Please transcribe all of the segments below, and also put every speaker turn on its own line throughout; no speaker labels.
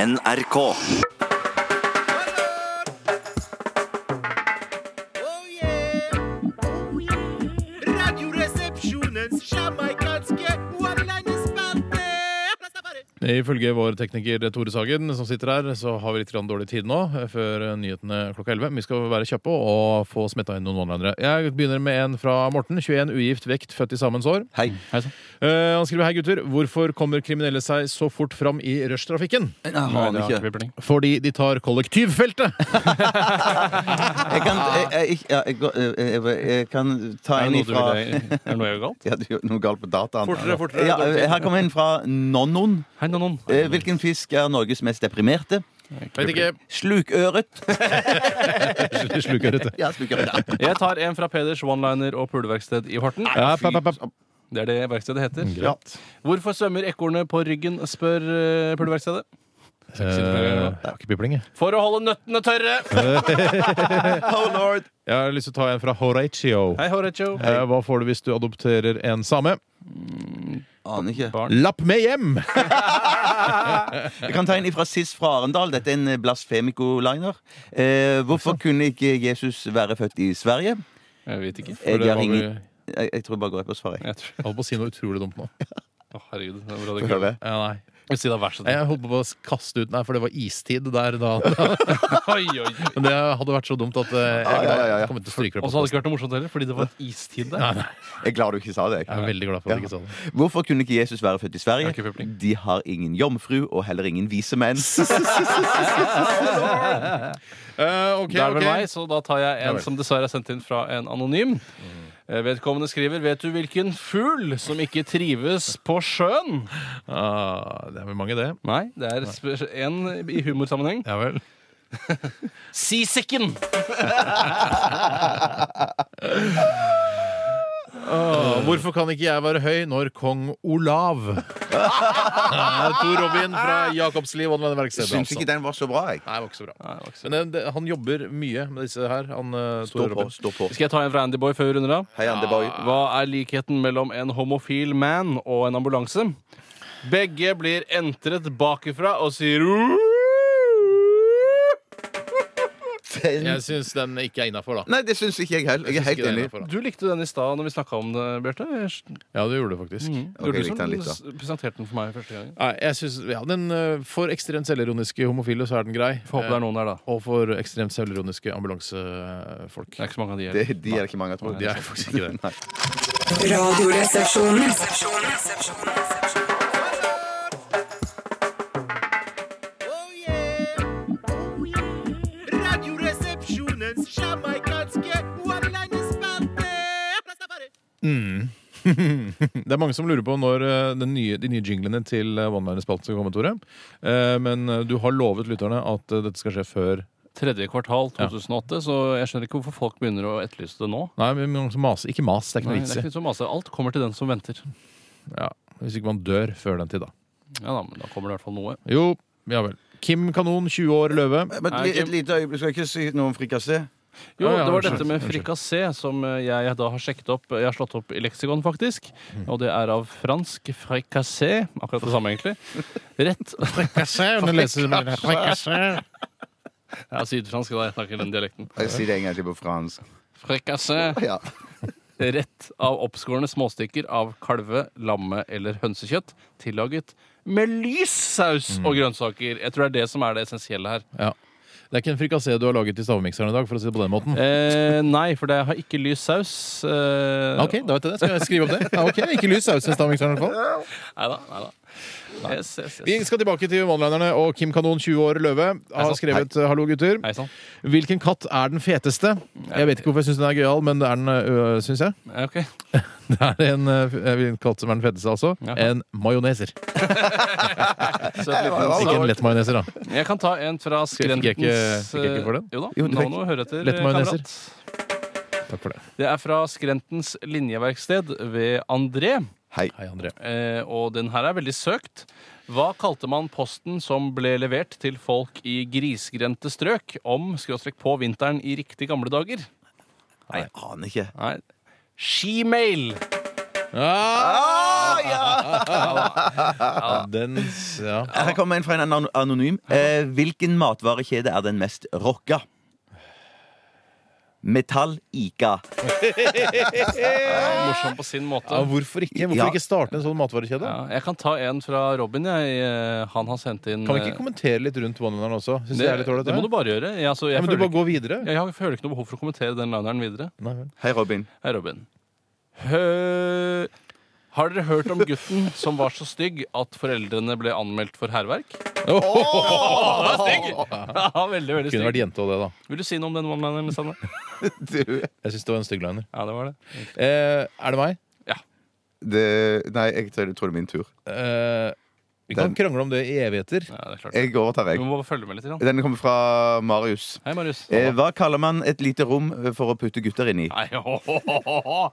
NRK.
Radioresepsjonens jamaikanske one-liners-spalte.
Ifølge vår tekniker Tore Sagen, som sitter her, så har vi litt grann dårlig tid nå eh, før nyhetene klokka 11. Men vi skal være kjappe og få smetta inn noen one-linere. Jeg begynner med en fra Morten. 21, ugift, vekt, født i samme sår.
Hei.
Eh, han skriver hei, gutter. Hvorfor kommer kriminelle seg så fort fram i rushtrafikken?
Jeg har ikke.
Fordi de tar kollektivfeltet!
Jeg kan,
Ah.
jeg, jeg, jeg, jeg, går- eh, jeg, jeg kan ta
Er
en
det noe du
ifra
ville Er det noe jeg gjør galt?
ja, du gjorde noe galt på dataen.
Fortere, fortere.
Ja, eh, her kommer en fra Nonnon.
Hei, Nanon.
Eh, Hvilken fisk er Norges mest deprimerte?
Vet ikke.
Slukøret.
Slukørete.
Ja, slukøret. ja.
Jeg tar en fra Peders one-liner og puleverksted i Horten.
Ja, papp, papp, papp.
Det er det verkstedet
Mm,
heter.
Ja.
Hvorfor svømmer ekornet på ryggen, spør eh, puleverkstedet.
Eh, jeg har ikke pipling, jeg.
For å holde nøttene tørre!
Oh lord.
Jeg har lyst til å ta en fra Horatio.
Hei, Horatio.
Eh, Hva får du hvis du adopterer en same?
Aner ikke.
Lapp med hjem!
Jeg kan ta en ifra Siss fra Arendal. Dette er en eh, blasfemiko-liner. Eh, hvorfor kunne ikke Jesus være født i Sverige?
Jeg vet ikke.
Jeg,
det
har
var
ingen...
vel-
jeg, jeg tror bare går jeg på svaret. jeg.
Jeg tror.
Jeg holdt på å si noe utrolig dumt nå.
Å, herregud. Det er bra det
Prøve.
Ja, nei.
ikke Si da vær så
Nei,
snill.
Jeg holdt på å kaste ut Nei, for det var istid der da. Men
Oi, oi, oi.
det hadde vært så dumt at eh, jeg
ja, ja, ja.
kommer til å stryke det.
Og
på
så hadde det ikke vært noe morsomt heller, fordi det var istid der.
Jeg er glad du ikke sa det. jeg.
Jeg er veldig glad for at du ikke sa det.
Hvorfor kunne ikke Jesus være født i Sverige?
Det er ikke pøbling.
De har ingen jomfru og heller ingen vise menn.
Uh, ok,
det er vel
ok.
meg, så da tar jeg
Ja
en
vel.
som dessverre er sendt inn fra en anonym. Eh, Vedkommende skriver Vet du hvilken fugl som ikke trives på sjøen?
Ah, det er vel mange, det.
Nei, det er spe- en i humorsammenheng.
Ja vel.
Seasicken!
Ah, hvorfor kan ikke jeg være høy når kong Olav Ah, Tor Robin fra Jakobsliv og denne verkstedet.
Syns ikke
altså.
den var så bra, jeg.
Nei, det var ikke så bra.
Nei, det var ikke så-
Men eh, det, han jobber mye med disse her. Han, eh,
Stå
Tor
på.
Robin.
stå på
Skal jeg ta en fra Andyboy før vi runder av?
Hei, Andeboy.
Hva er likheten mellom en homofil man og en ambulanse? Begge blir entret bakifra og sier
Jeg syns den ikke er innafor, da.
Nei, det syns ikke jeg heller. Jeg er
Synes ikke den
helt
er
enig.
innenfor, da.
Du likte den i stad når vi snakka om det, Bjarte.
Ja, du gjorde det faktisk.
Mhm.
Ok, jeg likte den litt, da.
Du presenterte den for meg første gang.
Nei, jeg synes, ja, den, eh, For ekstremt selvironiske homofile så er den grei.
Får håpe det er noen der, da.
Eh, Og for ekstremt selvironiske ambulansefolk.
Det er ikke så mange av de her.
Det, de er det ikke mange av, tror
De
jeg.
er faktisk ikke det.
Radioresepsjonen.
Oh yeah. Oh yeah. Radioresepsjonens jamaikanske one-liners-spalte.
Det er mange som lurer på når eh, den nye, de nye jinglene til eh, One-Liner-spalten skal komme, Tore. Eh, Men eh, du har lovet lytterne at eh, dette skal skje før
Tredje kvartal 2008, så jeg skjønner ikke hvorfor folk begynner å etterlyse det nå.
Nei, men mange som maser. Ikke mas, det er ikke
Nei,
noe
det
vits
er
i.
ikke så mase. Alt kommer til den som venter.
Ja, hvis ikke man dør før den tid, da.
Ja da, men da kommer det i hvert fall noe.
Jo, ja vel. Kim Kanon, 20 år, løve.
Men
Nei,
li-
Kim.
et lite øyeblikk, skal jeg ikke si noe om frikassé?
Ja,
Jo,
ja,
det var
unnskyld,
dette med
unnskyld.
frikassé som eh, jeg da har sjekket opp. Jeg har slått opp i leksikon, faktisk.
Mm.
Og det er av fransk fricassé. Akkurat det samme, egentlig. Rett
Frikassé.
Ja, sydfransk, da. Jeg snakker den dialekten.
Jeg sier det en gang til på fransk.
Fricassé.
Ja.
Rett av oppskårne småstykker av kalve-, lamme- eller hønsekjøtt tillaget med lys saus
Mm.
og grønnsaker. Jeg tror det er det som er det essensielle her.
Ja. Det er ikke en frikassé du har laget i stavmikseren i dag, for å si det på den måten.
Eh, nei, for det har ikke lys saus. Eh,
Ok, da vet jeg det. Skal jeg skrive opp det? Ja, ok, Ikke lys saus i stavmikseren i hvert fall.
Neida, neida. Yes, yes,
Vi
yes.
skal tilbake til one-linerne, og Kim Kanon, 20 år, løve, har skrevet 'Hallo, gutter'.
Hei sann.
Hvilken katt er den feteste? Jeg vet ikke hvorfor jeg syns den er gøyal, men det er den, øh, syns jeg.
Ja, ok.
Det er en, øh, en katt som er den feteste, altså.
Ja.
En majoneser.
Søt liten
ja,
Ikke
sak.
en lett majoneser, da.
Jeg kan ta en fra
Fikk jeg
Skrentens eh,
ikke- fikk jeg ikke for det?
Jo da,
Jo, du
nå
fikk.
må du høre etter, eh,
Lett majoneser.
kamerat.
Takk for det.
Det er fra Skrentens linjeverksted ved André.
Hei.
Hei, André.
Eh, og den her er veldig søkt. Hva kalte man posten som ble levert til folk i grisgrendte strøk om skråstrek på vinteren i riktig gamle dager?
Nei, jeg aner ikke.
Nei. Shemail!
Ah, ja!
Den s- ja.
Her kommer en fra en anon- anonym. Eh, hvilken matvarekjede er den mest rocka? Metall Ica.
Morsom på sin
ja,
måte.
hvorfor ikke? Hvorfor
Ja.
ikke starte en sånn matvarekjede?
Ja, jeg kan ta en fra Robin. Jeg. Eh, Han har sendt inn
Kan vi ikke
eh,
kommentere litt rundt one-lineren også? Synes det, er litt ålreit,
det må du bare gjøre. Jeg, altså, jeg,
ja, men du
føler
bare gå videre.
ikke, jeg føler ikke noe behov for å kommentere den lineren videre.
Nei, vel.
Hei, Robin.
Hei, Robin. Hø... Har dere hørt om gutten som var så stygg at foreldrene ble anmeldt for hærverk? Han er stygg! Ja, veldig, veldig
Kunne vært
stygg.
jente og det, da.
Vil du si noe om den one-lineren? Sanne?
Du,
Jeg syns det var en stygg liner.
Ja, det var det.
Eh, er det meg?
det, nei, jeg tror tror det er min tur.
Eh, vi kan
Den-
krangle om det i evigheter.
Ja, det er klart.
Jeg overtar,
Du
jeg.
må følge med litt. Grann.
Den kommer fra Marius.
Hei, Marius.
Eh, hva kaller man et lite rom eh, for å putte gutter inn i?
Nei, ho, ho, ho, ho, ho.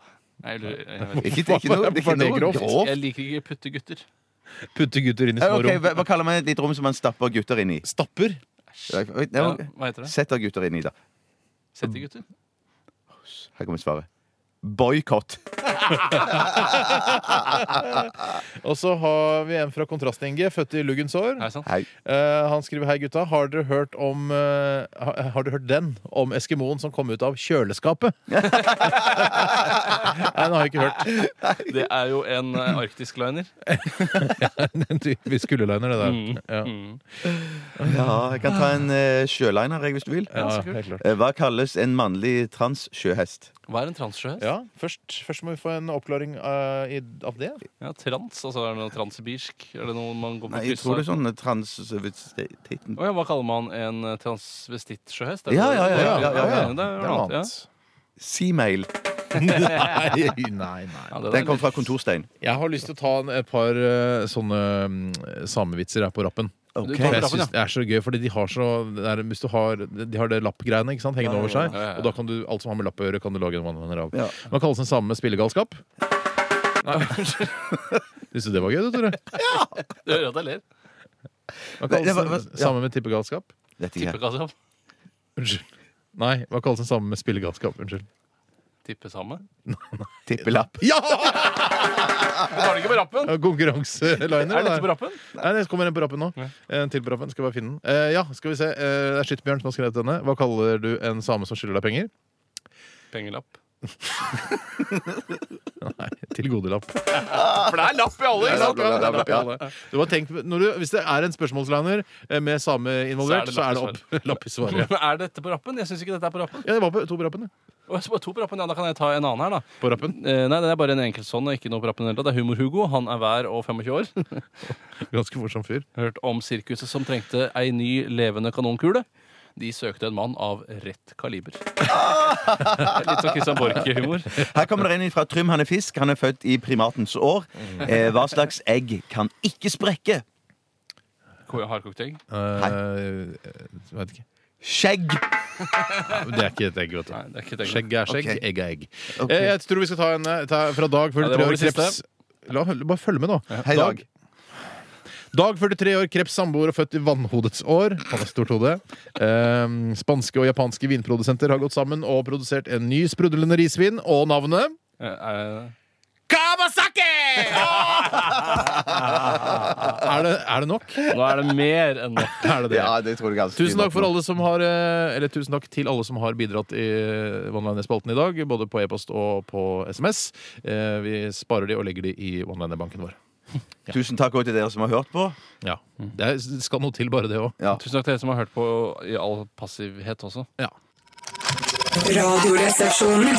Nei, du, jeg, vet ikke.
Ikke, ikke noe, ikke
Var det
noe
grovt?
grovt.
jeg liker ikke puttegutter.
Putte gutter inn i
Eh,
små
ok,
rom.
hva, hva kaller man et lite rom som man stapper gutter inn i?
Stapper.
Ja,
Ja,
ok.
hva heter det?
Setter gutter inn i, da.
Settegutter?
Her kommer svaret. Boikott.
Og så har vi en fra Kontrast-Inge, født i luggens år.
Nei, sant?
Hei.
Eh, han skriver hei, gutta. Har dere hørt om eh, ha- Har dere hørt den? Om eskimoen som kom ut av kjøleskapet? Nei, den har jeg ikke hørt.
Det er jo en eh, arktisk liner.
En typisk kulleliner, det der. Ja.
Ja, jeg kan ta en eh, sjøliner, jeg, hvis du vil.
Ja,
så kult.
helt klart.
Eh, hva kalles en mannlig transsjøhest?
Hva er en transsjøhest?
Ja, først, først må vi få en oppklaring eh, i, av det.
Ja, trans, altså er det noe transsibirsk? Er det noe man går på
Nei, jeg
kryss
tror det
av?
er sånn transtitten
Å ja, hva kaller man en eh, transvesittsjøhest?
Ja, ja, ja, ja, ja, ja, ja.
Det er
Det
noe
er
annet, ja.
Seamail.
Nei, nei, nei.
Ja, det der
Den kom
er
fra Kontorstein.
Jeg har lyst til å ta en, et par eh, sånne mm, samevitser her på rappen.
Du
Ok.
tar
For
det
jeg
opp, ja.
synes det er så gøy, fordi de har så det er, Hvis du har, de har det lappgreiene ikke sant, hengende over seg,
Ja, ja, ja.
og da kan du alt som har med lapp å gjøre, kan du lage en one-winner av.
Ja.
Man kalles den samme spillegalskap. Syns du det var gøy, du, Tore?
Du hører at jeg ler.
Hva
Nei, det
kalles
var-
den
ja.
samme med tippegalskap?
Dette her.
Tippekasse.
Unnskyld. Nei, hva kalles den samme med spillegalskap? Unnskyld.
Tippesame.
Tippelapp.
Ja!
Du tar det ikke på rappen?
Konkurranseliner.
Er
det
dette
der.
på rappen?
Nei, det kommer en på rappen nå.
Ja.
En til på rappen. Skal bare finne den. Eh, ja, skal vi se. Eh, det er Skyttbjørn som har skrevet denne. Hva kaller du en same som skylder deg penger?
Pengelapp.
Nei, tilgodelapp.
For det er lapp i alle!
Ja, ja,
ikke sant?
ja, ja, ja, ja, ja. Du har tenkt, når du, hvis det er en spørsmålsliner eh, med same involvert, så er det opp lapp i svaret.
Men er dette på rappen? Jeg syns ikke dette er på rappen.
Ja, det var på to på rappen. det.
Å, så bare to på rappen, ja, Da kan jeg ta en annen her, da.
På rappen.
Eh, nei, det er bare en enkeltsånn og ikke noe på rappen. i det hele tatt. Det er Humor-Hugo. Han er hver og 25 år.
Ganske morsom fyr.
Hørt om sirkuset som trengte ei ny levende kanonkule. De søkte en mann av rett kaliber. Litt sånn Christian Borch-humor.
Her kommer det en fra Trym. Han er fisk. Han er født i primatens år.
Mm.
Eh, hva slags egg kan ikke sprekke?
Hardkokt egg.
Uh, Eh, vet ikke.
Skjegg.
Ja, men Det er ikke et egg, vet
Nei,
du.
det er ikke et egg.
Skjegg er skjegg,
Ok.
egg er egg.
Ok.
Eh, Jeg tror vi skal ta en eh, ta fra Dag
Ja,
43
det var
år
det siste.
kreps. La, bare følg med nå.
Hei, Dag.
Dag 43 år, kreps samboer og født i vannhodets år. Han har stort hode. Ehm, spanske og japanske vinprodusenter har gått sammen og produsert en ny sprudlende risvin, og navnet
Eh, eh,
Er det, er det nok?
Nå er det mer enn nok.
Er det det?
Ja, det tror jeg ganske
Tusen takk, for alle som har, eh, eller tusen takk til alle som har bidratt i eh, OneLiner-spalten i dag. Både på e-post og på SMS. Eh, Vi sparer de og legger de i OneLiner-banken vår.
Tusen takk også til dere som har hørt på.
Ja, Det er- skal noe til, bare det òg.
Ja.
Tusen takk til dere som har hørt på i all passivhet også.
Ja.
Radioresepsjonen.